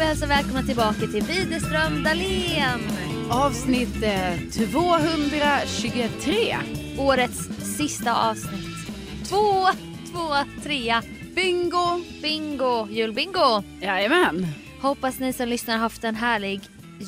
hälsa välkomna tillbaka till Widerström Dahlén. Avsnitt eh, 223. Årets sista avsnitt. Två, två, trea. Bingo! Bingo, julbingo. Jajamän. Hoppas ni som lyssnar har haft en härlig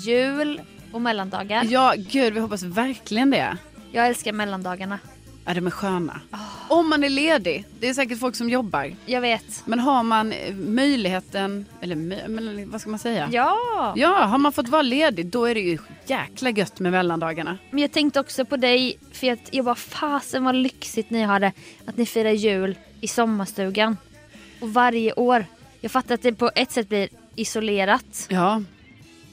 jul och mellandagar. Ja, gud vi hoppas verkligen det. Jag älskar mellandagarna. Ja, de är sköna. Ah. Om man är ledig, det är säkert folk som jobbar. Jag vet. Men har man eh, möjligheten, eller mö- men vad ska man säga? Ja. Ja, har man fått vara ledig då är det ju jäkla gött med mellandagarna. Men jag tänkte också på dig, för att jag bara fasen vad lyxigt ni har det. Att ni firar jul i sommarstugan. Och varje år. Jag fattar att det på ett sätt blir isolerat. Ja,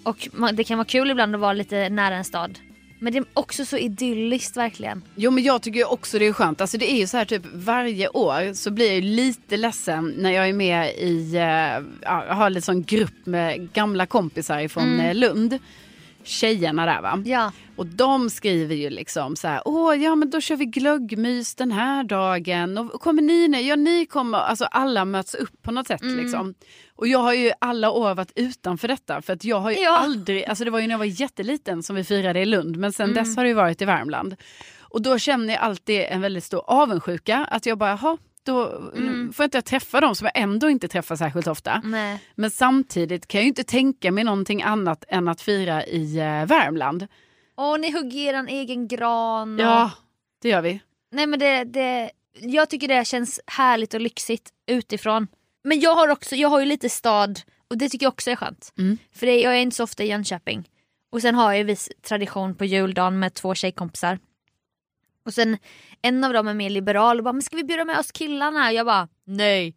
Och man, det kan vara kul ibland att vara lite nära en stad. Men det är också så idylliskt verkligen. Jo men jag tycker ju också det är skönt. Alltså det är ju så här typ varje år så blir jag ju lite ledsen när jag är med i, eh, ja, jag har lite sån grupp med gamla kompisar från eh, Lund. Tjejerna där va. Ja. Och de skriver ju liksom så här, åh ja men då kör vi glöggmys den här dagen. Och kommer ni nu? Ja ni kommer, alltså alla möts upp på något sätt liksom. Och jag har ju alla år varit utanför detta för att jag har ju Ja. aldrig, alltså det var ju när jag var jätteliten som vi firade i Lund men sen dess har det ju varit i Värmland. Och då känner jag alltid en väldigt stor avundsjuka att jag bara, jaha då får jag inte jag träffa dem som jag ändå inte träffar särskilt ofta. Nej. Men samtidigt kan jag ju inte tänka mig någonting annat än att fira i eh, Värmland. Och ni hugger er egen gran. Och... Ja, det gör vi. Nej men det, det, jag tycker det känns härligt och lyxigt utifrån. Men jag har också, jag har ju lite stad och det tycker jag också är skönt. Mm. För det, jag är inte så ofta i Jönköping. Och sen har jag ju viss tradition på juldagen med två tjejkompisar. Och sen en av dem är mer liberal och bara, men ska vi bjuda med oss killarna? Och jag bara, nej,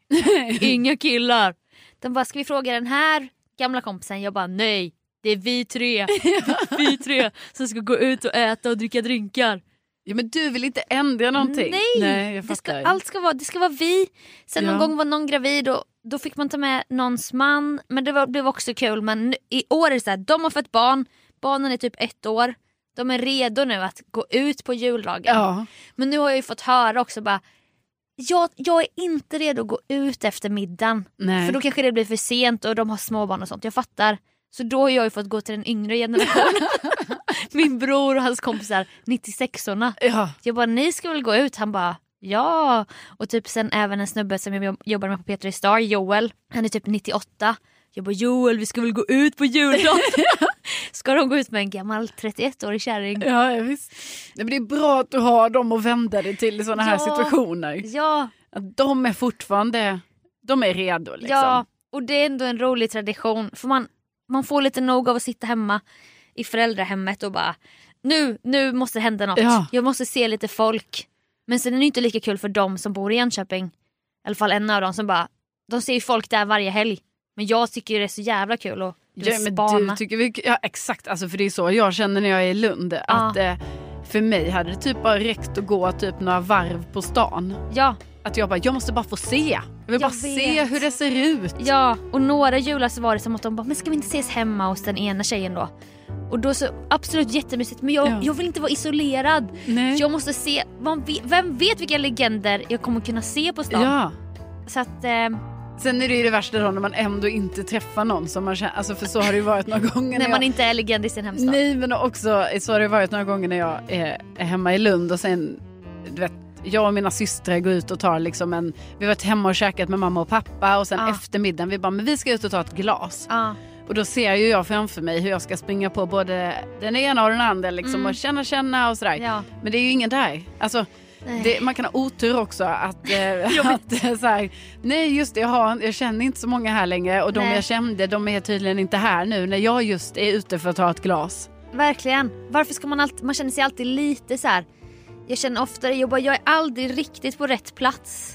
inga killar. De bara, ska vi fråga den här gamla kompisen? Jag bara, nej, det är vi tre. Vi tre som ska gå ut och äta och dricka drinkar. Ja, men du vill inte ändra någonting. Nej, jag Det ska, fattar. allt ska vara, det ska vara vi. Sen någon Ja. gång var någon gravid och då fick man ta med någons man. Men det var, blev också kul. Men nu, i år är det så här, de har fått barn, barnen är typ ett år. De är redo nu att gå ut på juldagen. Ja. Men nu har jag ju fått höra också bara, jag, jag är inte redo att gå ut efter middagen. Nej. För då kanske det blir för sent och de har småbarn och sånt. Jag fattar. Så då har jag ju fått gå till den yngre generationen. Min bror och hans kompisar, 96orna. ja. Jag bara, ni ska väl gå ut? Han bara, ja. Och typ sen även en snubbe som jag jobb- jobbar med på Petra Star, Joel. Han är typ 98. Jag bara, Joel vi ska väl gå ut på juldagen? ska de gå ut med en gammal 31-årig kärring? Ja, ja, visst. Nej, men det är bra att du har dem att vända dig till i sådana här Ja. situationer. Ja, Att de är fortfarande de är redo. Liksom. ja. Och det är ändå en rolig tradition. För man, man får lite nog av att sitta hemma i föräldrahemmet och bara, nu, nu måste det hända något. Ja. Jag måste se lite folk. Men sen är det ju inte lika kul för dem som bor i Jönköping. I alla fall en av dem som bara, de ser ju folk där varje helg. Men jag tycker ju det är så jävla kul att du Ja, vet, men spana. du tycker vi, ja exakt, alltså, för det är så jag känner när jag är i Lund. Att, eh, för mig hade det typ bara räckt att gå typ några varv på stan. ja, Att jag bara, jag måste bara få se. Jag vill bara se vet. hur det ser ut. ja, och några jular så var det som att de bara, men ska vi inte ses hemma hos den ena tjejen då? Och då så, absolut jättemysigt men jag, Ja. jag vill inte vara isolerad. Nej. Jag måste se, man vet, vem vet vilka legender jag kommer kunna se på stan? Ja. Så att, eh, Sen är det ju det värsta då när man ändå inte träffar någon som man känner, alltså för så har det ju varit några gånger när man jag, inte är legend i sin hemstad. Nej men också, så har det varit några gånger när jag är, är hemma i Lund och sen, du vet, jag och mina systrar går ut och tar liksom en, vi har varit hemma och käkat med mamma och pappa och sen Ja. efter middagen, vi bara, men vi ska ut och ta ett glas. Ja. Och då ser ju jag framför mig hur jag ska springa på både den ena och den andra liksom Mm. och känna, känna och sådär. Ja. Men det är ju ingen där. Alltså, Nej. det, man kan ha otur också att, eh, att eh, så här, nej just det, jag, har, jag känner inte så många här längre och de Nej. jag kände de är tydligen inte här nu när jag just är ute för att ta ett glas. Verkligen. Varför ska man alltid, man känner sig alltid lite så här. Jag känner oftare, jag bara, jag är aldrig riktigt på rätt plats.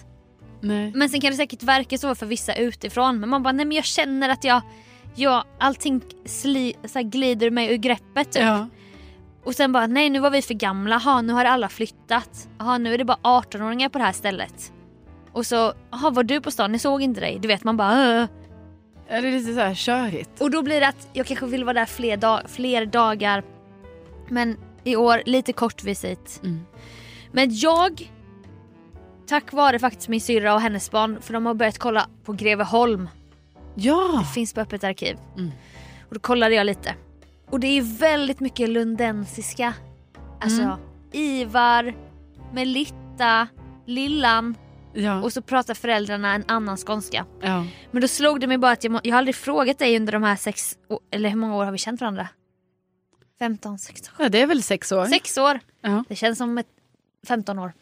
Nej. Men sen kan det säkert verka så för vissa utifrån. Men man bara, nej men jag känner att jag, jag allting sli, så här, glider mig ur greppet typ. Ja. Och sen bara, nej nu var vi för gamla, ha nu har alla flyttat. Jaha nu är det bara 18-åringar på det här stället. Och så, jaha var du på stan, ni såg inte dig. Du vet man bara, "Åh." Ja, Det är lite så här körigt. Och då blir det att jag kanske vill vara där fler, dag- fler dagar. Men i år lite kort visit. Mm. Men jag, tack vare faktiskt min syrra och hennes barn, för de har börjat kolla på Greveholm. Ja! Det finns på Öppet arkiv. Mm. Och då kollade jag lite. Och det är väldigt mycket lundensiska. Alltså Mm. Ivar, Melitta, Lillan Ja. och så pratar föräldrarna en annan skånska. ja. Men då slog det mig bara att jag, må- jag har aldrig frågat dig under de här sex, å- eller hur många år har vi känt varandra? 15, 16, ja, det är väl sex år. Sex år. Ja. Det känns som ett 15 år.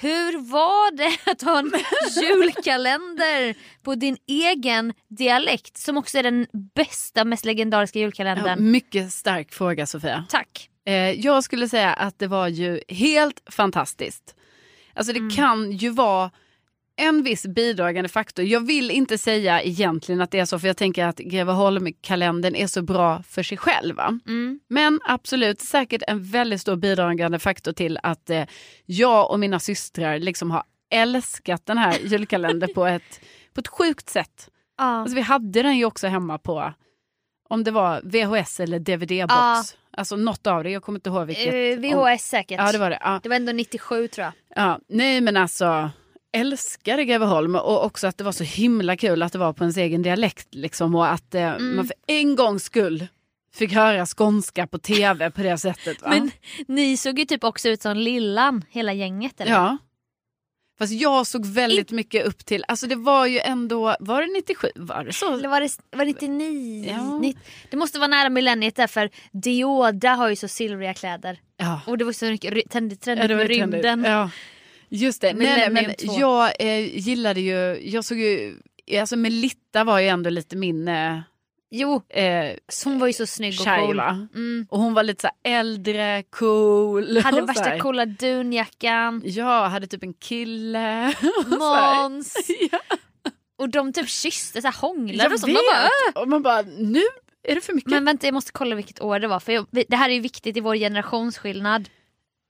Hur var det att ha en julkalender på din egen dialekt som också är den bästa, mest legendariska julkalendern? Ja, mycket stark fråga Sofia. Tack. Eh, jag skulle säga att det var ju helt fantastiskt. Alltså det kan ju vara en viss bidragande faktor. Jag vill inte säga egentligen att det är så för jag tänker att Greveholm-kalendern är så bra för sig själv. Va? Mm. Men absolut, säkert en väldigt stor bidragande faktor till att eh, jag och mina systrar liksom har älskat den här julkalendern på ett, på ett sjukt sätt. Ja. Alltså, vi hade den ju också hemma på, om det var VHS eller DVD-box. Ja. Alltså något av det, jag kommer inte ihåg Eh, vilket. om, VHS säkert. ja, det var det. Ja, Det var ändå 97 tror jag. ja. Nej men alltså, älskade Greveholm och också att det var så himla kul att det var på ens egen dialekt. Liksom, och att eh, Mm. man för en gångs skull fick höra skånska på tv på det sättet. Va? Men ni såg ju typ också ut som Lillan, hela gänget. Eller? ja. Fast jag såg väldigt mycket upp till, alltså det var ju ändå, var det 97? Var det så? Eller var det, var det 99? Ja. Nitt- Det måste vara nära millenniet därför Dioda har ju så silvriga kläder. Ja. Och det var så mycket ry- trendigt, Ja, trendigt det var med trendigt. rymden. Ja. Just det. Nej, Millennium nej, men två. jag eh, gillade ju, jag såg ju, alltså Melitta var ju ändå lite min eh, Jo, eh, så hon var ju så snygg och tjej cool. va? Mm. Och hon var lite så här äldre, cool. Hade och så här. värsta coola dunjackan, Ja, hade typ en kille. så här. Måns. Ja, Och de typ kysste, så här hånglade jag och sånt. Man bara, "Äh." vet. Och man bara, nu är det för mycket. Men vänta jag måste kolla vilket år det var för jag, det här är ju viktigt i vår generationsskillnad.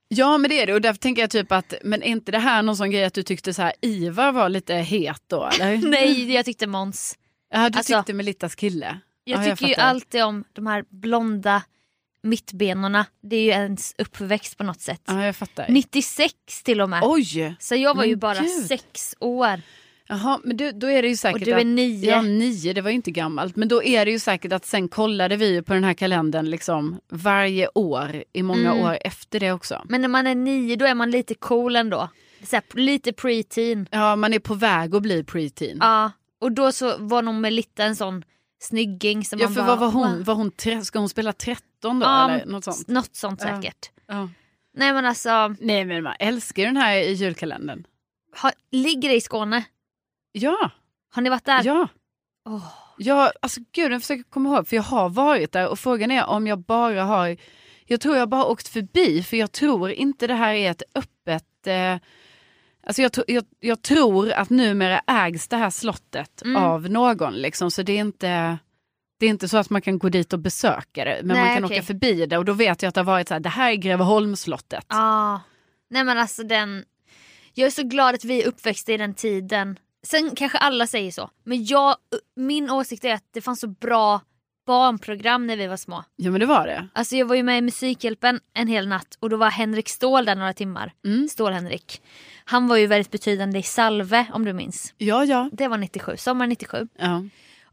Ja men det är det och därför tänker jag typ att, men är inte det här någon sån grej att du tyckte så här Ivar var lite het då eller? Nej Mm, jag tyckte Måns. Ja du Alltså- tyckte Melittas kille. Jag Ja, tycker ju fattar. alltid om de här blonda mittbenorna. Det är ju ens uppväxt på något sätt. Ja jag fattar. 96 till och med. Oj! Så jag var ju Men bara gud. sex år Jaha, men du, då är det ju och säkert du är att... nio. Ja, nio, det var ju inte gammalt. Men då är det ju säkert att sen kollade vi ju på den här kalendern liksom varje år i många Mm. år efter det också. Men när man är nio då är man lite cool ändå. Så här, lite pre-teen. Ja, man är på väg att bli preteen. Ja. Och då så var nog Melitta en sån snygging som ja, man för bara... vad var hon? "Wow." Var hon tre... Ska hon spela 13 då? Ja, eller något sånt? Något sånt Ja. säkert. Ja. Nej men alltså, Nej, men man älskar ju den här i julkalendern. ha, ligger det i Skåne? Ja, Har ni varit där? ja. Åh. Ja, alltså gud, jag försöker komma ihåg, för jag har varit där och frågan är om jag bara har, jag tror jag bara har åkt förbi, för jag tror inte det här är ett öppet, eh, alltså jag, tro- jag, jag tror att numera ägs det här slottet Mm. av någon liksom, så det är inte, det är inte så att man kan gå dit och besöka det, men man Nej, kan okej. åka förbi det och då vet jag att det har varit så här, det här är Greveholmsslottet. Ja. Nej men alltså den... Jag är så glad att vi uppväxte i den tiden. Sen kanske alla säger så. Men jag, min åsikt är att det fanns så bra barnprogram när vi var små. Ja men det var det. Alltså jag var ju med i Musikhjälpen en hel natt och då var Henrik Ståhl där några timmar. Mm. Ståhl-Henrik. Han var ju väldigt betydande i Salve om du minns. Ja ja. Det var 97, sommar 97. ja.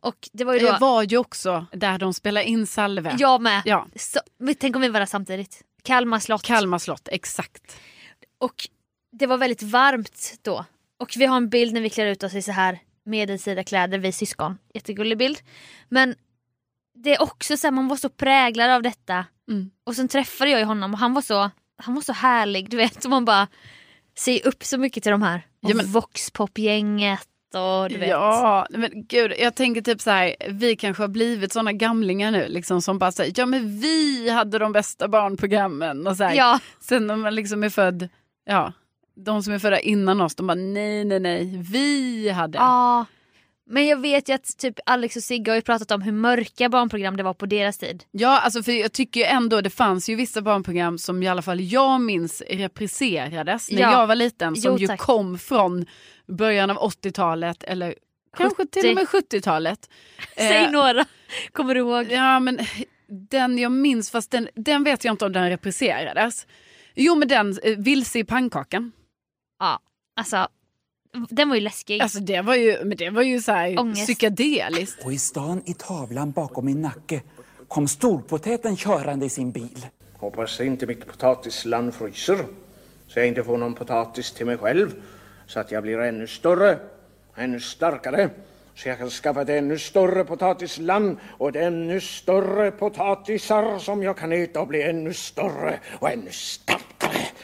Och det var ju då... Jag var ju också där de spelar in Salve. Jag med. ja. Så, men tänk om vi var där samtidigt. Kalmar slott. Kalmar slott, exakt. och det var väldigt varmt då. Och vi har en bild när vi klär ut oss i så här medelsida kläder, vi syskon. Jättegullig bild. Men det är också så här, man var så präglad av detta. Mm. Och sen träffade jag ju honom och han var så, han var så härlig, du vet. Och man bara ser upp så mycket till de här. Och Ja, men- Voxpop-gänget och du vet. Ja, nej men gud, jag tänker typ så här, vi kanske har blivit såna gamlingar nu liksom som bara säger, ja men vi hade de bästa barnprogrammen och så här. Ja, Sen när man liksom är född, ja, de som är födda innan oss, de bara nej, nej, nej, vi hade. ja. Men jag vet ju att typ Alex och Sigge har ju pratat om hur mörka barnprogram det var på deras tid. Ja, alltså för jag tycker ju ändå det fanns ju vissa barnprogram som i alla fall jag minns repriserades när Ja. jag var liten som Jo, ju tack. kom från början av 80-talet eller kanske till och med 70-talet. Säg Eh, några, kommer du ihåg? Ja, men den jag minns, fast den, den vet jag inte om den repriserades. Jo, men den, eh, Vilse i pannkakan. Alltså, Den var ju läskig. Alltså det var ju, men det var ju så här Ångest. psykedeliskt. Och i stan i tavlan bakom min nacke kom storpotäten körande i sin bil. Hoppas inte mitt potatisland fryser så jag inte får någon potatis till mig själv så att jag blir ännu större, ännu starkare så jag kan skaffa ett ännu större potatisland och ett ännu större potatisar som jag kan äta och bli ännu större och ännu starkare.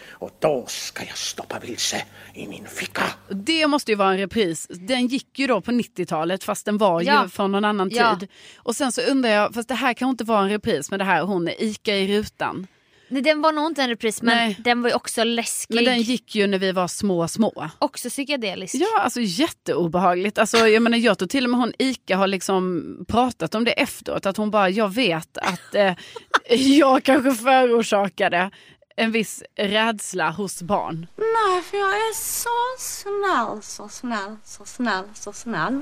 Och då ska jag stoppa vilse i min ficka. Och Det måste ju vara en repris. Den gick ju då på 90-talet fast den var ju Ja. från någon annan Ja. tid. Och sen så undrar jag, fast det här kan ju inte vara en repris men det här hon är Ica i rutan. Nej, den var nog inte en repris men Nej. den var ju också läskig. Men den gick ju när vi var små små. Också psykedelisk. Ja, alltså jätteobehagligt. Alltså, jag menar, jag tror till och med hon Ica har liksom pratat om det efteråt. Att hon bara, jag vet att eh, jag kanske förorsakade en viss rädsla hos barn. Nej, för jag är så snäll, så snäll, så snäll, så snäll.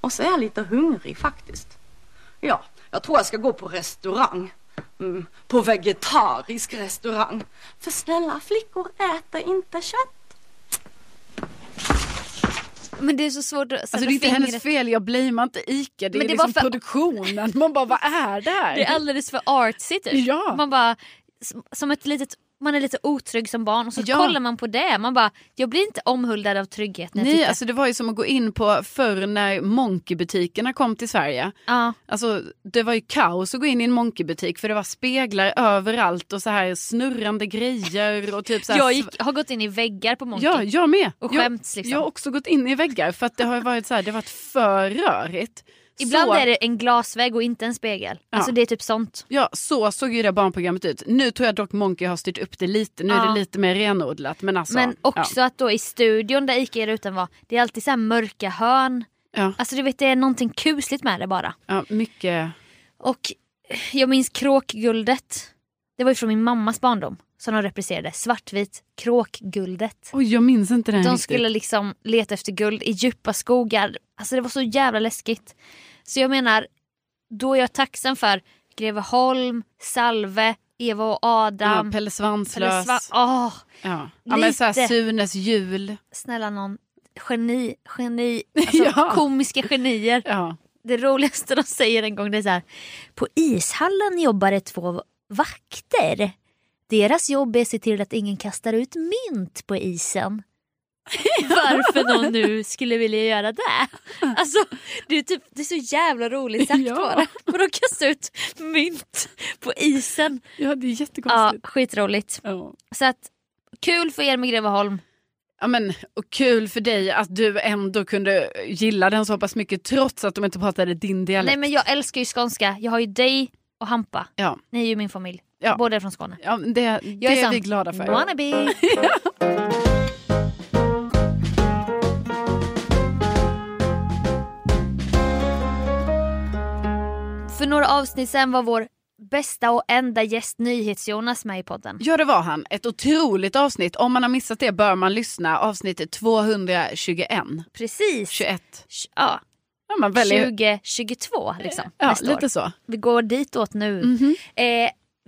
Och så är jag lite hungrig faktiskt. Ja, jag tror jag ska gå på restaurang. Mm, på vegetarisk restaurang. För snälla flickor äter inte kött. Men det är så svårt att sätta Alltså, det är inte fingret. hennes fel, jag blamear inte Ica. Det är Men det var liksom för- produktionen. Man bara, vad är det här? Det är alldeles för artsy typ. Ja. Man bara, s- som ett litet, man är lite otrygg som barn och så Ja. kollar man på det. Man bara, jag blir inte omhuldad av trygghet när jag Nej, tittar. alltså det var ju som att gå in på förr när monkeybutikerna kom till Sverige. ja. Alltså, det var ju kaos att gå in i en monkeybutik för det var speglar överallt och så här snurrande grejer och typ så här... Jag gick, har gått in i väggar på Monkey. Ja, jag med. Och jag, skämts, liksom. jag har också gått in i väggar för att det har ju varit så här, det har varit för rörigt. Ibland så, är det en glasvägg och inte en spegel. Alltså Ja. det är typ sånt. Ja, så såg ju det barnprogrammet ut. Nu tror jag dock Monkey har styrt upp det lite, nu är Ja. det lite mer renodlat. Men, alltså, Men också att då i studion där Ica i rutan var, det är alltid så här mörka hörn. Ja, ja, Alltså du vet det är någonting kusligt med det bara. ja, mycket. Och eh, jag minns kråkguldet. Det var ju från min mammas barndom som de repriserade. Svartvit, kråkguldet. Oj, jag minns inte det här De riktigt. skulle liksom leta efter guld i djupa skogar. Alltså det var så jävla läskigt. Så jag menar, då är jag tacksam för Greveholm, Salve, Eva och Ja, Adam. Pelle Pelle Svanslös. Svan- Åh, ja. ja, men så här, Lite. Sunes jul. snälla någon. Geni, geni, alltså Ja. komiska genier. Ja. Det roligaste de säger en gång det är så här. På ishallen jobbar det två vakter. Deras jobb är att se till att ingen kastar ut mynt på isen. Varför någon nu skulle vilja göra det. Alltså, det, är typ, det är så jävla roligt sagt Ja. bara. Och de kastar ut mynt på isen. ja, det är Ja, jättekonstigt. skitroligt. Ja. Så att, kul för er med Greveholm. Ja, men, och kul för dig att du ändå kunde gilla den så pass mycket trots att de inte pratade din dialekt. Nej men jag älskar ju skånska. Jag har ju dig och Hampa. Ja, Ni är ju min familj. Ja. Båda är från Skåne. ja men det, Jag det är sån vi glada för. Wannabe. För några avsnitt sen var vår bästa och enda gäst NyhetsJonas med i podden. Ja det var han, ett otroligt avsnitt. Om man har missat det bör man lyssna. Avsnitt 221. Precis. 21. Tj- Ja, Ja, man väljer... 2022 liksom. ja nästa lite år. så. Vi går ditåt nu. Eh,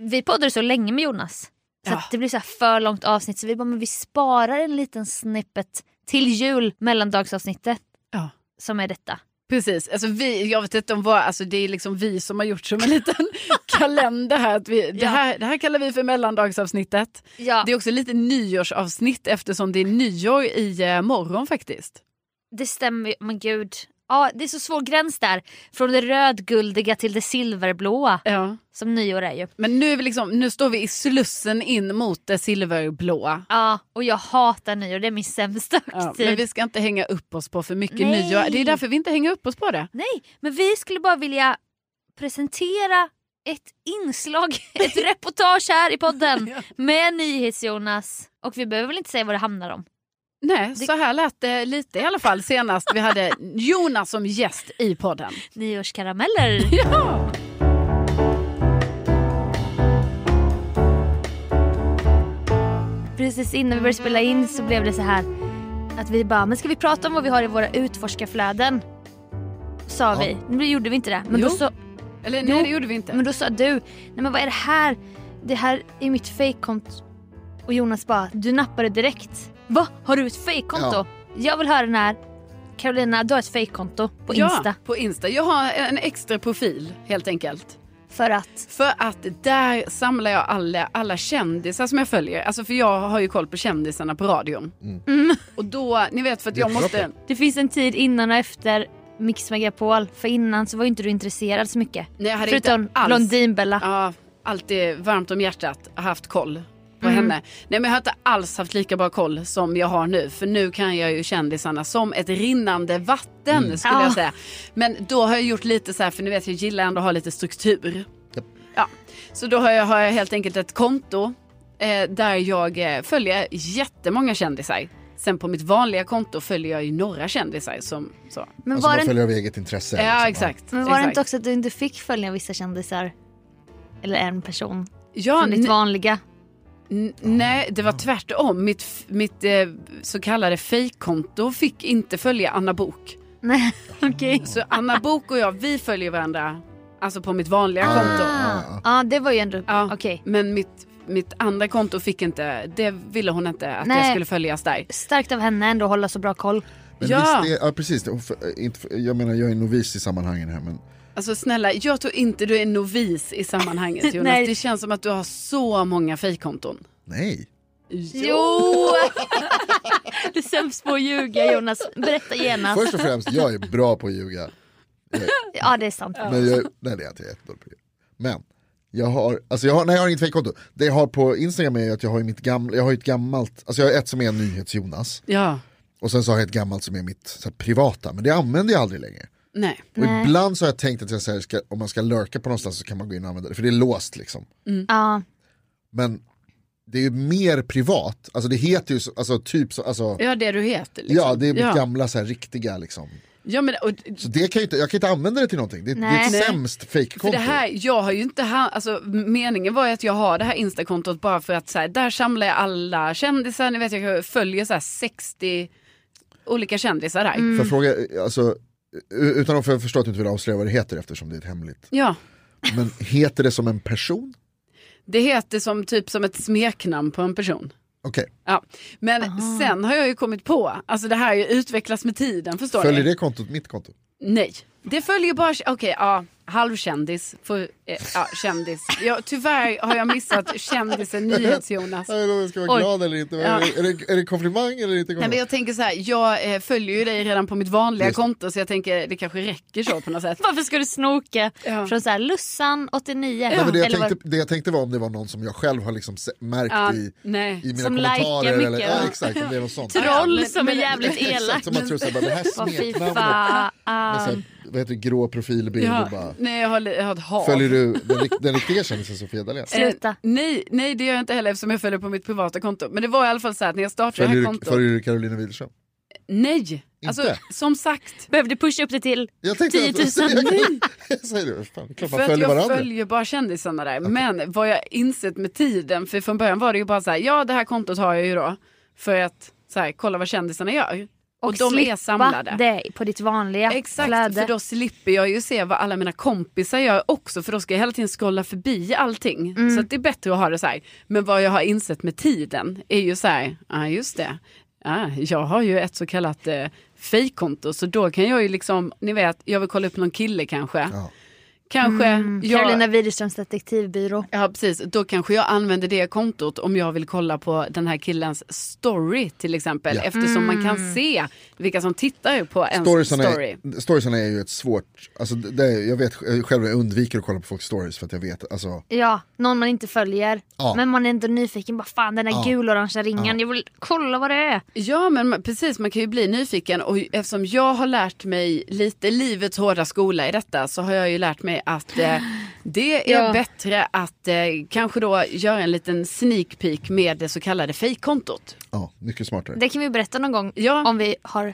vi poddade så länge med Jonas. Så Ja. att det blir så här för långt avsnitt så vi bara, men vi sparar en liten snippet till jul, mellandagsavsnittet Ja. som är detta. Precis, alltså vi, jag vet inte om vad, alltså det är liksom vi som har gjort som en liten kalender här. Att vi, det Ja. här. Det här kallar vi för mellandagsavsnittet. Ja, Det är det, också lite nyårsavsnitt eftersom det är nyår i eh, morgon faktiskt. stämmer ju. Men gud. Ja, det är så svår gräns där. Från det rödguldiga till det silverblåa Ja. som nyår är ju. Men nu, är vi liksom, nu står vi i slussen in mot det silverblåa. Ja, och jag hatar nyår. Det är min sämsta Ja, högtid. men vi ska inte hänga upp oss på för mycket Nej. nyår. Det är därför vi inte hänger upp oss på det. Nej, men vi skulle bara vilja presentera ett inslag, ett reportage här i podden Ja. med NyhetsJonas. Och vi behöver väl inte säga vad det handlar om. Nej, Det- så här lät det lite i alla fall senast vi hade Jonas som gäst i podden. Nyårskarameller. Ja. Precis innan vi började spela in så blev det så här att vi bara, men ska vi prata om vad vi har i våra utforskarflöden? Sa Ja. vi. Nu gjorde vi inte det. Men, då, Jo. så, Eller Jo, nej, det gjorde vi inte. men då sa du, nej men vad är det här? Det här är mitt fejkkonto. Och Jonas bara, du nappade direkt. Va? Har du ett fejkkonto? Ja. Jag vill höra den här. Carolina, du har ett fejkkonto på Insta. Ja, på Insta. Jag har en extra profil helt enkelt. För att... För att där samlar jag alla, alla kändisar som jag följer. Alltså för jag har ju koll på kändisarna på radion. Mm. Och då, ni vet för att Det är jag måste... proppen. Det finns en tid innan och efter Mix Megapol. För innan så var ju inte du intresserad så mycket. Nej, jag hade Förutom inte alls- Blondinbella. Ja, alltid varmt om hjärtat haft koll på henne. Nej men jag har inte alls haft lika bra koll som jag har nu. För nu kan jag ju kändisarna som ett rinnande vatten skulle Ja. jag säga. Men då har jag gjort lite så här, för ni vet jag gillar ändå att ha lite struktur. Japp. Ja, så då har jag, har jag helt enkelt ett konto eh, där jag eh, följer jättemånga kändisar. Sen på mitt vanliga konto följer jag ju några kändisar som så. Men Alltså var, man det, följer av eget intresse. Ja liksom. exakt. men var det exakt. inte också att du inte fick följa vissa kändisar? Eller en person? ja, Från ditt ni- vanliga? N- Nej, det var tvärtom. Mitt, f- mitt eh, så kallade fejkkonto fick inte följa Anna Bok. Nej, okej. Så Anna Bok och jag, vi följer varandra alltså på mitt vanliga konto. Ah, Ja, det var ju ändå... Ja, Okej. Men mitt, mitt andra konto fick inte, det ville hon inte att Nej. jag skulle följas där. Starkt av henne ändå att hålla så bra koll. Men Ja. visst, det, ja precis. Det- för- eh, inte för- Jag menar jag är novis i sammanhangen här men Alltså snälla, jag tror inte du är novis i sammanhanget Jonas. Nej. Det känns som att du har så många fejkkonton. nej. Jo! du är sämst på att ljuga Jonas. Berätta alltså- genast. Först och främst, jag är bra på att ljuga. Ja det är sant. Men jag, nej det är inte jag är jättedålig på det. Men jag har, alltså jag har, nej jag har inget fejkkonto. Det jag har på Instagram är att jag har ju mitt gamla, jag har ju ett gammalt, alltså jag har ett som är nyhets-Jonas. Ja, Och sen så har jag ett gammalt som är mitt så här, privata, men det använder jag aldrig längre. nej. Och ibland så har jag tänkt att jag, så här, ska, om man ska lurka på någonstans så kan man gå in och använda det, för det är låst liksom. Ja. Men det är ju mer privat, alltså det heter ju så, alltså, typ så, alltså, Ja, det du heter liksom. ja det är mitt ja. gamla så här, riktiga liksom. Ja, men, och, Så det kan jag, inte, jag kan inte använda det till någonting, det, det är Nej. ett Nej. sämst För det fejkkonto. här, jag har ju inte, ha, alltså meningen var ju att jag har det här instakontot bara för att så här, där samlar jag alla kändisar, ni vet jag följer så här 60 olika kändisar där. Får jag fråga, alltså, u- utan att för- förstå att du inte vill avslöja vad det heter eftersom det är ett hemligt. Ja, Men heter det som en person? det heter som typ som ett smeknamn på en person. Okej, Ja. Men sen har jag ju kommit på, alltså det här har ju utvecklats med tiden förstår följer ni? det kontot mitt konto? Nej, det följer bara, okej ja, halvkändis, för, eh, ja, kändis. Ja, tyvärr har jag missat kändisen Nyhets-Jonas. Jag vet inte om jag ska vara Oj. glad eller inte, men Ja. är, det, är, det, är det komplimang eller inte? Nej, men Komplimang? jag tänker så här, jag eh, följer ju dig redan på mitt vanliga Just. konto så jag tänker det kanske räcker så på något sätt. Varför ska du snoka Ja. från så här Lussan 89? Nej, men det, jag Eller vad- tänkte, det jag tänkte var om det var någon som jag själv har liksom se- märkt Ja, i, nej. i mina Som likar kommentarer. mycket, Eller, va? ja, exakt, om det är något sånt. Troll Men- som är men- jävligt elak. Exakt, som man tror såhär, bara, det här Vad fy smeknamnet. fan. Med såhär, vad heter det, grå profilbild och Ja, bara. nej, jag har, li- jag har ett hav. Följer du den, rikt- den riktiga kändisen Sofia Dalén? Eh, Sluta. nej, nej, det gör jag inte heller eftersom jag följer på mitt privata konto. Men det var i alla fall så här att när jag startade det här Följer du, kontot. följer du Carolina Widerström? Nej, alltså Inte? som sagt. Behövde pusha upp det till Jag tänkte 10 000. Jag säger det, fan, det är klart För man att följer jag varandra. följer bara kändisarna där. Men vad jag insett med tiden, för från början var det ju bara så här, ja det här kontot har jag ju då. För att så här, kolla vad kändisarna gör. Och, de är slippa samlade. det på ditt vanliga Exakt, kläder. för då slipper jag ju se vad alla mina kompisar gör också för då ska jag hela tiden scrolla förbi allting. Så att det är bättre att ha det så här. Men vad jag har insett med tiden är ju så här, ja just det, ja, jag har ju ett så kallat eh, fejkkonto så då kan jag ju liksom, ni vet, jag vill kolla upp någon kille kanske. Ja. Kanske jag... Carolina Widerströms detektivbyrå. Ja precis, då kanske jag använder det kontot om jag vill kolla på den här killens story till exempel. Ja. Eftersom man kan se vilka som tittar på ens Storiesarna story. är, storiesarna är ju ett svårt, alltså det- det, jag vet jag själv jag undviker att kolla på folks stories för att jag vet, alltså Ja, någon man inte följer. Ja. Men man är ändå nyfiken. Bara, Fan den där gul-orangea ringen. Jag vill kolla vad det är. Ja men man, precis, man kan ju bli nyfiken och eftersom jag har lärt mig lite livets hårda skola i detta så har jag ju lärt mig att eh, det är Ja. bättre att eh, kanske då göra en liten sneak peek med det så kallade fejkkontot. ja, mycket smartare. Det kan vi berätta någon gång Ja. om vi har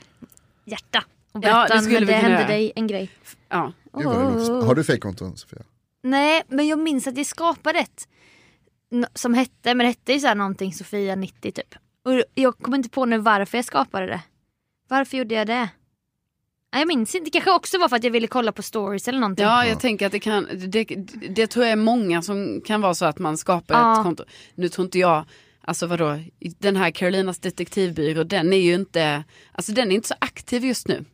hjärta. Och Ja, berätta det när skulle vi det hände kunna göra. dig en grej. Ja. Gud, vad det låter- Har du fejkkonton Sofia? Nej, men jag minns att jag skapade ett n- som hette, men det hette ju så här någonting Sofia 90 typ. Och jag kommer inte på nu varför jag skapade det. Varför gjorde jag det? Nej, jag minns inte, det kanske också var för att jag ville kolla på stories eller någonting. Ja, jag tänker att det kan, det, det tror jag är många som kan vara så att man skapar Ja. ett konto. Nu tror inte jag Alltså vadå, den här Carolinas detektivbyrå, den är ju inte, alltså den är inte så aktiv just nu.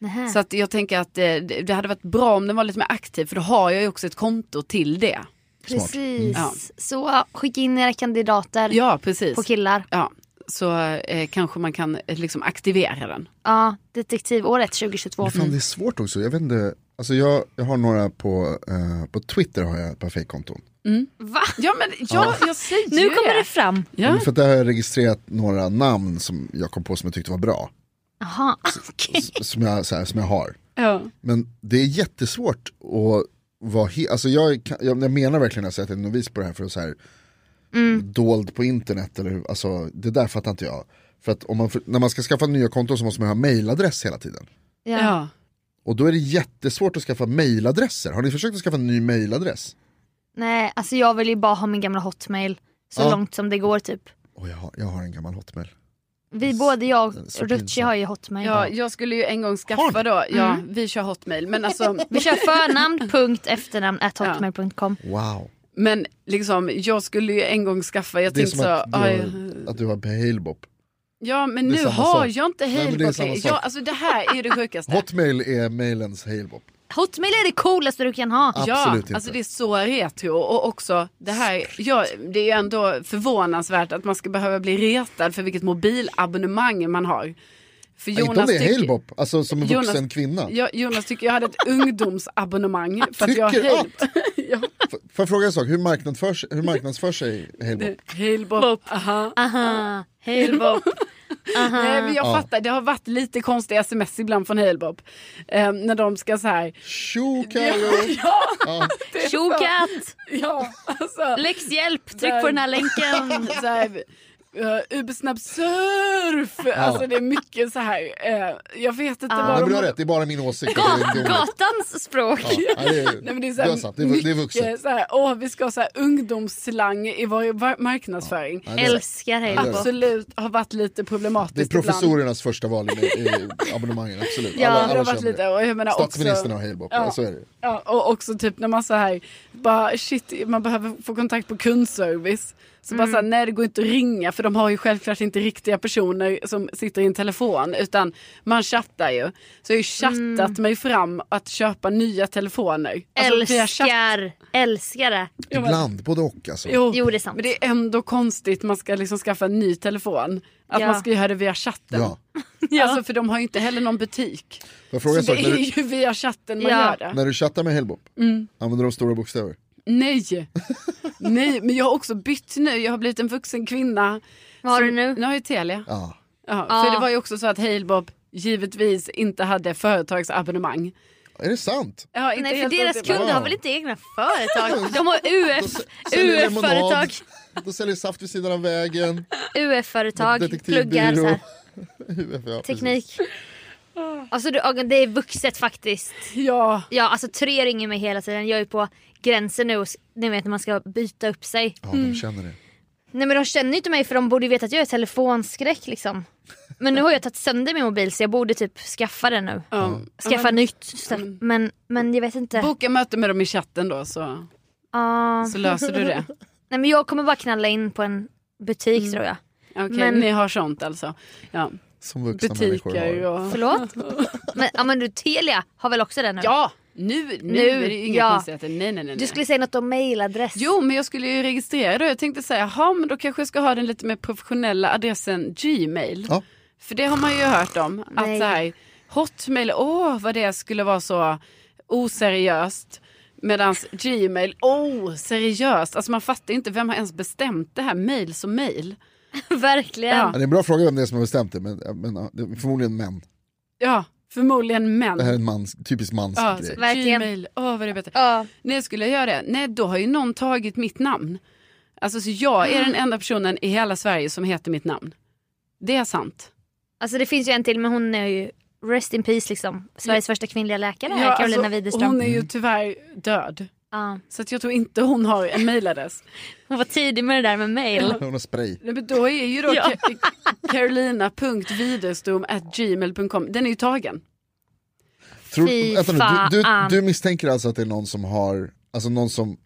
Nähä. Så att jag tänker att eh, det det hade varit bra om den var lite mer aktiv för då har jag ju också ett konto till det. Mm. Precis. Ja. Så ja, skicka in era kandidater Ja, precis. på killar. Ja, så eh, kanske man kan eh, liksom aktivera den. Ja, detektivåret 2022. Fan, det är svårt också, jag vet inte. Alltså jag, jag har några på, eh, på Twitter har jag ett par fejkkonton. Va? Ja, men ja, jag säger Nu ju kommer det fram. Ja. För att där har jag registrerat några namn som jag kom på som jag tyckte var bra. Jaha, okej. S- Som jag, så här, som jag har. Ja. Men det är jättesvårt att vara he- alltså jag, kan- jag, jag menar verkligen alltså att jag är novis på det här för att så här Mm. dold på internet eller hur- alltså det där fattar inte jag. För att om man, för- när man ska skaffa nya konton så måste man ha mailadress hela tiden. Ja. Ja. Och då är det jättesvårt att skaffa mailadresser. Har ni försökt att skaffa en ny mailadress? Nej, alltså jag vill ju bara ha min gamla hotmail så Ja. långt som det går typ. Åh, jag, har, jag har en gammal hotmail. Vi både jag och Så Rucci pinsamt. har ju hotmail. ja, jag skulle ju en gång skaffa då, ja, Mm. vi kör hotmail, men alltså, Vi kör förnamn, punkt, efternamn, at hotmail.com. Wow. men liksom, jag skulle ju en gång skaffa, jag Det är tänkte som så, att du, har, aj, att du har Bailbop. ja men det är nu samma har sak. jag inte Nej, men det är Halebop samma längre. sak. Ja, alltså det här är ju det sjukaste. Hotmail är mailens Hailbop. Hotmail är det coolaste du kan ha. Ja, Absolut inte. alltså det är så retro och också det här, ja, det är ju ändå förvånansvärt att man ska behöva bli retad för vilket mobilabonnemang man har. För Nej, inte om det är tycker- Hailbop, alltså som en Jonas- vuxen kvinna. Ja, Jonas tycker jag hade ett ungdomsabonnemang för att jag Tycker höll att? F- Får jag fråga en sak, hur marknadsförs, hur marknadsför sig Hailbop? Halebop. Aha. Aha, Halebop. Nej, men jag fattar, det har varit lite konstiga sms ibland från Halebop. Eh, när de ska så här, Tjo ja, Carro! ja, Ja. Tjokatt! ja, alltså. Läxhjälp! Tryck på den här länken. så här, eh, Ubersnabb surf! Alltså det är mycket så här, eh, jag vet inte Nej, vad men de du har rätt, det är bara min åsikt. Det är inte Gat- roligt. Gatans språk. Ja, nej, det är- Nej, men det är, du har så sagt, här, det är, vu- det är vuxet. mycket så här, åh, vi ska ha så här ungdomsslang i vår var- marknadsföring. Nej, det, är, Älskar Halebop. Absolut har varit lite problematiskt det är ibland. professorernas första val i, i abonnemangen, absolut. Ja, alla, Det har alla varit känner lite, det. och jag menar också, Statsministern har Hailbop, Ja. ja. så är det. ja, och också typ när man så här, bara shit, man behöver få kontakt på kundservice. Så bara så Mm. här, nej det går inte att ringa för de har ju självklart inte riktiga personer som sitter i en telefon utan man chattar ju. Så jag har ju chattat Mm. mig fram att köpa nya telefoner. Alltså, via chatt. Älskar, älskar det. men- Ibland, både och alltså. Jo, Jo, det är sant. Men det är ändå konstigt man ska liksom skaffa en ny telefon. Att Ja. man ska göra det via chatten. Ja. Alltså för de har ju inte heller någon butik. Får jag Så fråga en det Mm. sak, när är du, ju via chatten man Ja. gör det. när du chattar med Hailbop, använder de stora bokstäver? Nej. Nej, men jag har också bytt nu. Jag har blivit en vuxen kvinna. Vad har Så- du nu? Nu har jag Telia. Ja. Ja. Ja. För det var ju också så att Halebop givetvis inte hade företagsabonnemang. Är det sant? Ja, inte Nej, för helt deras otippat. kunder har väl inte egna företag? De har UF, Säljer lemonad, UF-företag. De säljer saft vid sidan av vägen, UF-företag, pluggar så detektivbyrå. här. UF, ja, precis. Teknik. Alltså du, Agon, det är vuxet faktiskt. Ja, Ja, alltså tre ringer mig hela tiden. Jag är på gränsen nu och s- ni vet när man ska byta upp sig. Ja, Mm. de känner det. Nej men de känner ju inte mig för de borde ju veta att jag är telefonskräck liksom. Men nu har jag tagit sönder min mobil så jag borde typ skaffa den nu. ja. Mm. Skaffa nytt. Så. Men, men jag vet inte. Boka möte med dem i chatten då så, Ah. så löser du det. Nej men jag kommer bara knalla in på en butik Mm. tror jag. Okej, Men- ni har sånt alltså. Ja. Som vuxna människor har. Butiker och... Förlåt? men, ja men du Telia har väl också den nu? Ja, nu, nu, Nu, är det ju inga ja. konstigheter. Nej, nej, nej. Du nej. skulle säga något om mailadress. Jo, men jag skulle ju registrera då. Jag tänkte säga, jaha, men då kanske jag ska ha den lite mer professionella adressen Gmail. Ja. För det har man ju hört om. Att Nej. så här, Hotmail, åh vad det skulle vara så oseriöst. Medan Gmail, oh seriöst. Alltså man fattar ju inte, vem har ens bestämt det här mail som mail? Verkligen. Ja. Ja, det är en bra fråga vem det är som har bestämt det, men, men ja, det är förmodligen män. Ja, förmodligen män. Det här är en mans, typisk mans Ja, grej. Verkligen. Gmail, åh vad det är bättre. Ja. Nej, skulle jag göra det? Nej, då har ju någon tagit mitt namn. Alltså, så jag är den enda personen i hela Sverige som heter mitt namn. Det är sant. Alltså det finns ju en till men hon är ju rest in peace liksom. Sveriges första kvinnliga läkare Ja, Carolina alltså, Widerström. Hon Hon, är ju tyvärr död. ja. Så att jag tror inte hon har en mailadress. hon var tidig med det där med mail. Hon har spray. Nej, men då är ju då Ja. Ka- carolina.widerström.gmail.com. Den är ju tagen. Tror, Fy vänta nu, du, du, fan. du misstänker alltså att det är någon som har, alltså någon som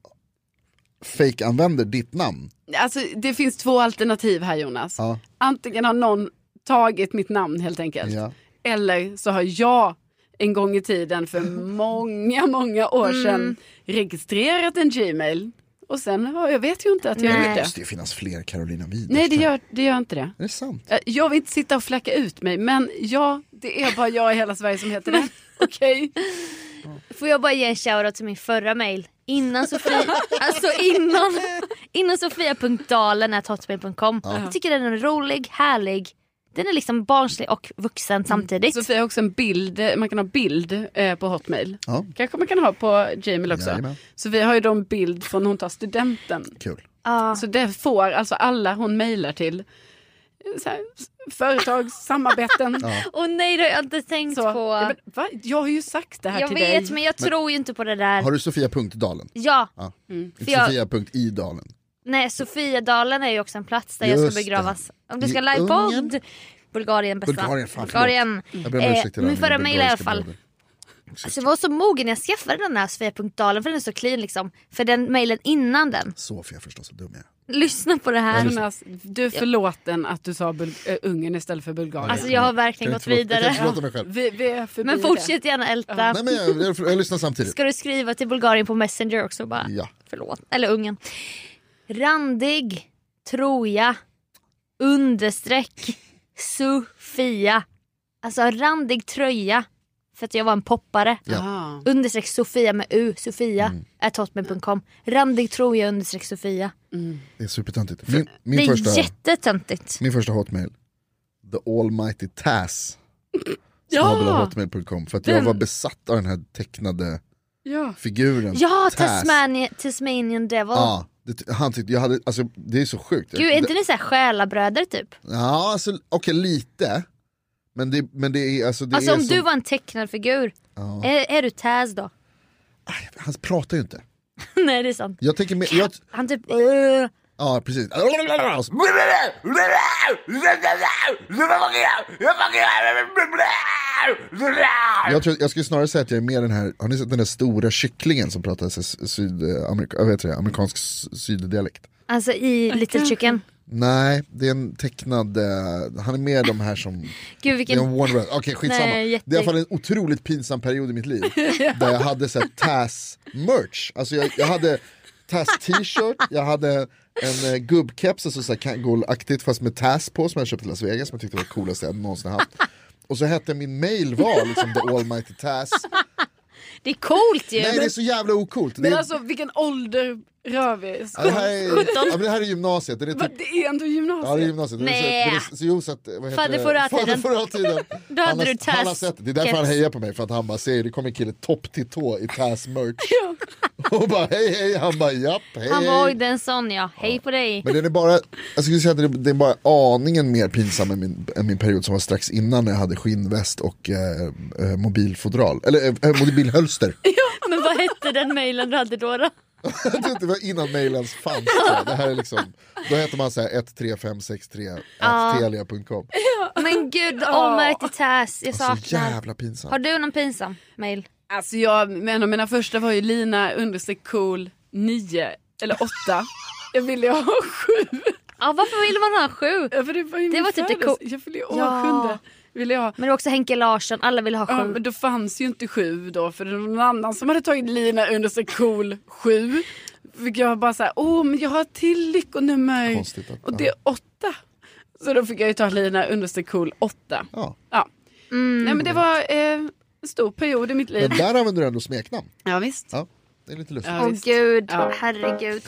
fake-använder ditt namn. Alltså, det finns två alternativ här Jonas. Ja. Antingen har någon tagit mitt namn helt enkelt. Alltså, Ja. Eller så har jag en gång i tiden för många, många år Mm. sedan registrerat en Gmail. Och sen, ja, jag vet ju inte att jag har Nej. gjort Det det. måste ju finnas fler Carolina Widerström. Nej, det gör, det gör inte det. Är det sant? Eh, Jag vill inte sitta och flacka ut mig, men ja, det är bara jag i hela Sverige som heter det. Okej. Får jag bara ge en shoutout till min förra mail? Innan Sofie, alltså innan, innan sofia.dalen.hotmail.com. Jag tycker den är rolig, härlig. Den är liksom barnslig och vuxen Mm. samtidigt. Sofia har också en bild, eh, man kan ha bild eh, på Hotmail. Ja. Kanske man kan ha på Gmail också. Jajamän. Så vi har ju då en bild från hon tar studenten. Kul. Ja. Så det får alltså alla hon mejlar till. eh, Så här, s- företag, samarbeten. Och nej, det har jag inte tänkt Så, på. ja, men, va? Jag har ju sagt det här jag till vet dig. men jag tror ju inte på det där. Har du Sofia.dalen? Ja, Ja. Mm. För jag- Sofia.idalen. nej Sofiadalen är ju också en plats där jag Just ska begravas. Om du I ska Ungern? livepodd. Bulgarien bästa. Bulgarien, fan, förlåt. Bulgarien. Jag ber om Eh, ursäkt till alla min mina förra mail i alla bulgariska fall. bröder. Alltså jag var så mogen när jag skaffade den här Sofia.dalen för den är så clean liksom. För den mailen innan den. Sofia förstås, vad dum jag är. Lyssna på det här. Jonas, du är förlåten att du sa Bul- äh, Ungern istället för Bulgarien. Alltså jag har Kan verkligen jag gått inte förlåta- Eh, Jag kan inte vidare. förlåta mig själv. vi, vi är förbi Men fortsätt gärna älta. Nej men jag, jag, jag lyssnar samtidigt. Ska du skriva till Bulgarien på Messenger också bara? Ja. Förlåt. Eller Ungern. Randig, Troja, understreck, Sofia. Alltså randig tröja. För att jag var en poppare. det. Ah. Understreck Sofia med U, Sofia, Mm. at hotmail.com. Randig Troja understreck Sofia. Det är supertöntigt. Min, Det min, är första, jättetöntigt. min första hotmail, the almighty Taz. Ja, hotmail.com för att jag Den- var besatt av den här tecknade ja. figuren. Ja, Taz. Tasmanian, Tasmanian Devil. Ja, det, ty- han tyckte, jag hade, alltså, det är så sjukt. Gud, är inte Det- ni såhär själabröder typ? Ja, alltså, okej lite. Men det, men det är alltså... Det alltså är om som, du var en tecknad figur, är, är du Taz då? Han pratar ju inte. Nej det är sant. Jag tänker mer... Jag, Han typ... "Åh." ja, precis. Jag, tror, jag skulle snarare säga att jag är mer den här, har ni sett den där stora kycklingen som pratar så- s- sydamerika, jag vet det, amerikansk s- syddialekt? alltså i Little Chicken. Nej, det är en tecknad, eh, han är med de här som Gud Det är en vilken... Warner Brothers. Okej skitsamma. Nej, jätte- Det är i alla fall en otroligt pinsam period i mitt liv. där jag hade så här Taz merch. Alltså jag, jag hade Taz t-shirt, jag hade en eh, gubbkeps, alltså så här Kangol-aktigt fast med Taz på som jag köpte i Las Vegas som jag tyckte var det coolaste jag någonsin haft. Och så hette min mail var liksom The Almighty Taz. Det är coolt ju! Nej det är så jävla ocoolt. Det, Men är- alltså vilken ålder rör vi? ja, det, här är, ja, men det här är gymnasiet. Det är Va, typ, det är ändå gymnasiet. ja det är gymnasiet. Det är så- Nej. det är så- jo, så att, vad heter Fader det? förra Fader tiden. förra tiden. Då hade han, har- du Taz han har sett, det är därför keps. han hejar på mig, för att han bara ser det kommer en kille topp till tå i Taz merch. och bara hej hej, han bara japp hej. Han var oj hej. det är en sån ja, hej på dig. eh, Men den är bara, jag skulle säga att det- det är bara aningen mer pinsam än min, än min period som var strax innan när jag hade skinnväst och eh, eh, mobilfodral, eller eh, eh, mobilhölster. Men vad hette den mailen du hade då? då? Jag tror inte det var innan mailen fanns. tror jag. Det här är liksom, då heter man såhär 13563 telia.com. Men gud, almighty Taz, jag Så saknar. Alltså, jävla pinsamt. Har du någon pinsam mail? Alltså jag, men en av mina första var ju Lina understreck cool 9 eller 8. jag ville ju ha 7. Ja varför vill man ha sju? Ja, för det var, ju Det min var typ det födelse. cool- Jag ville ju Ja. ha sjunde. Ville jag. ha. Men det var också Henke Larsson, alla ville ha Ja, sju. men då fanns ju inte sju då för det var någon annan som hade tagit Lina understreck cool 7. Fick jag bara såhär, åh men jag har ett till lyckonummer. Konstigt att- och det är 8. Så då fick jag ju ta Lina understreck cool 8. Ja. Ja. Mm. Nej men det var eh, en stor period i mitt liv. Men där använder du ändå smeknamn. Ja visst. Ja, det är lite lustigt. Åh visst. gud, Ja. herregud.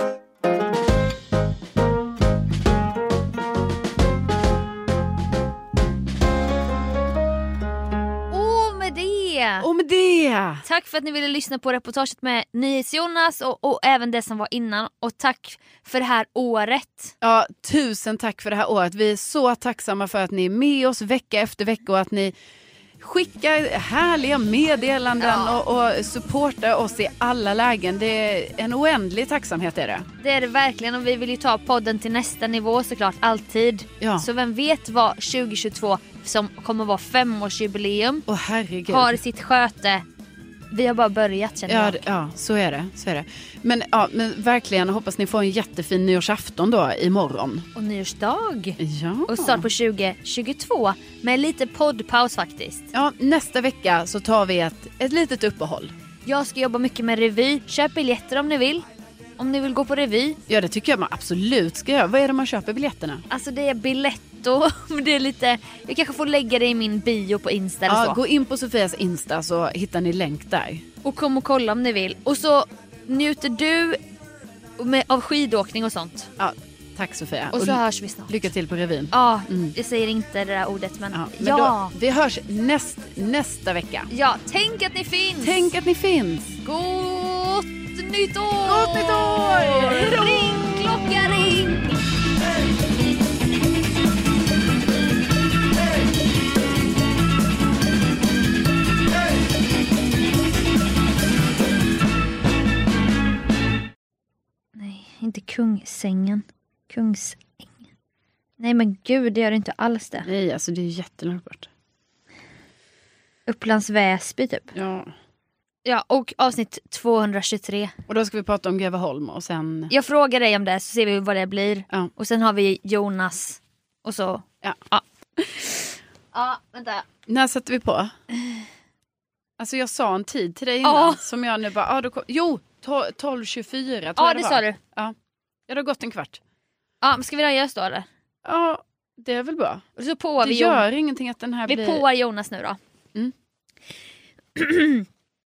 Åh, med det! Och med det. Tack för att ni ville lyssna på reportaget med NyhetsJonas och, och även det som var innan. Och tack för det här året. Ja, tusen tack för det här året. Vi är så tacksamma för att ni är med oss vecka efter vecka och att ni skickar härliga meddelanden och, och supportar oss i alla lägen. Det är en oändlig tacksamhet är det. Det är det verkligen och vi vill ju ta podden till nästa nivå såklart, alltid. Ja. Så vem vet vad 2022 som kommer vara femårsjubileum Åh herregud. har i sitt sköte Vi har bara börjat känner Ja, jag. det- ja så, är det, så är det. Men, ja, men verkligen, hoppas ni får en jättefin nyårsafton då imorgon. Och nyårsdag. Ja. Och start på 2022 med lite poddpaus faktiskt. ja, nästa vecka så tar vi ett, ett litet uppehåll. Jag ska jobba mycket med revy. Köp biljetter om ni vill. Om ni vill gå på revy. Ja, det tycker jag man absolut ska göra. Vad är det man köper biljetterna? Alltså det är Biletto. men Det är lite... Jag kanske får lägga det i min bio på Insta eller Ja, så. gå in på Sofias Insta så hittar ni länk där. Och kom och kolla om ni vill. Och så njuter du med, av skidåkning och sånt. Ja, tack Sofia. Och så hörs vi snart. lycka till på revyn. Ja, jag säger inte det där ordet men ja. Mm. men Ja, Då, vi hörs näst, nästa vecka. tänk att ni finns! Tänk att ni finns. Gott nytt år! Gott nytt år! Ring klocka ring! Nej, inte kungssängen. Kungsängen. Nej men gud, det gör inte alls det. Nej, alltså det är ju jättelångt bort. Upplands Väsby typ. Ja. Ja, och avsnitt 223. Och då ska vi prata om Greveholm och sen... Jag frågar dig om det så ser vi vad det blir. Ja. Och sen har vi Jonas och så. Ja. Ja, ja vänta. När sätter vi på? Alltså jag sa en tid till dig innan Ja. som jag nu bara... Ah, då kom... Jo, to- 12.24 tror Ja, jag det var. sa du. Ja. ja, det har gått en kvart. Ja, men ska vi röja oss då eller? Ja, det är väl bra. Och så påar Det Mm. vi Jonas. gör ingenting att den här Vi blir... påar Jonas nu då. Mm.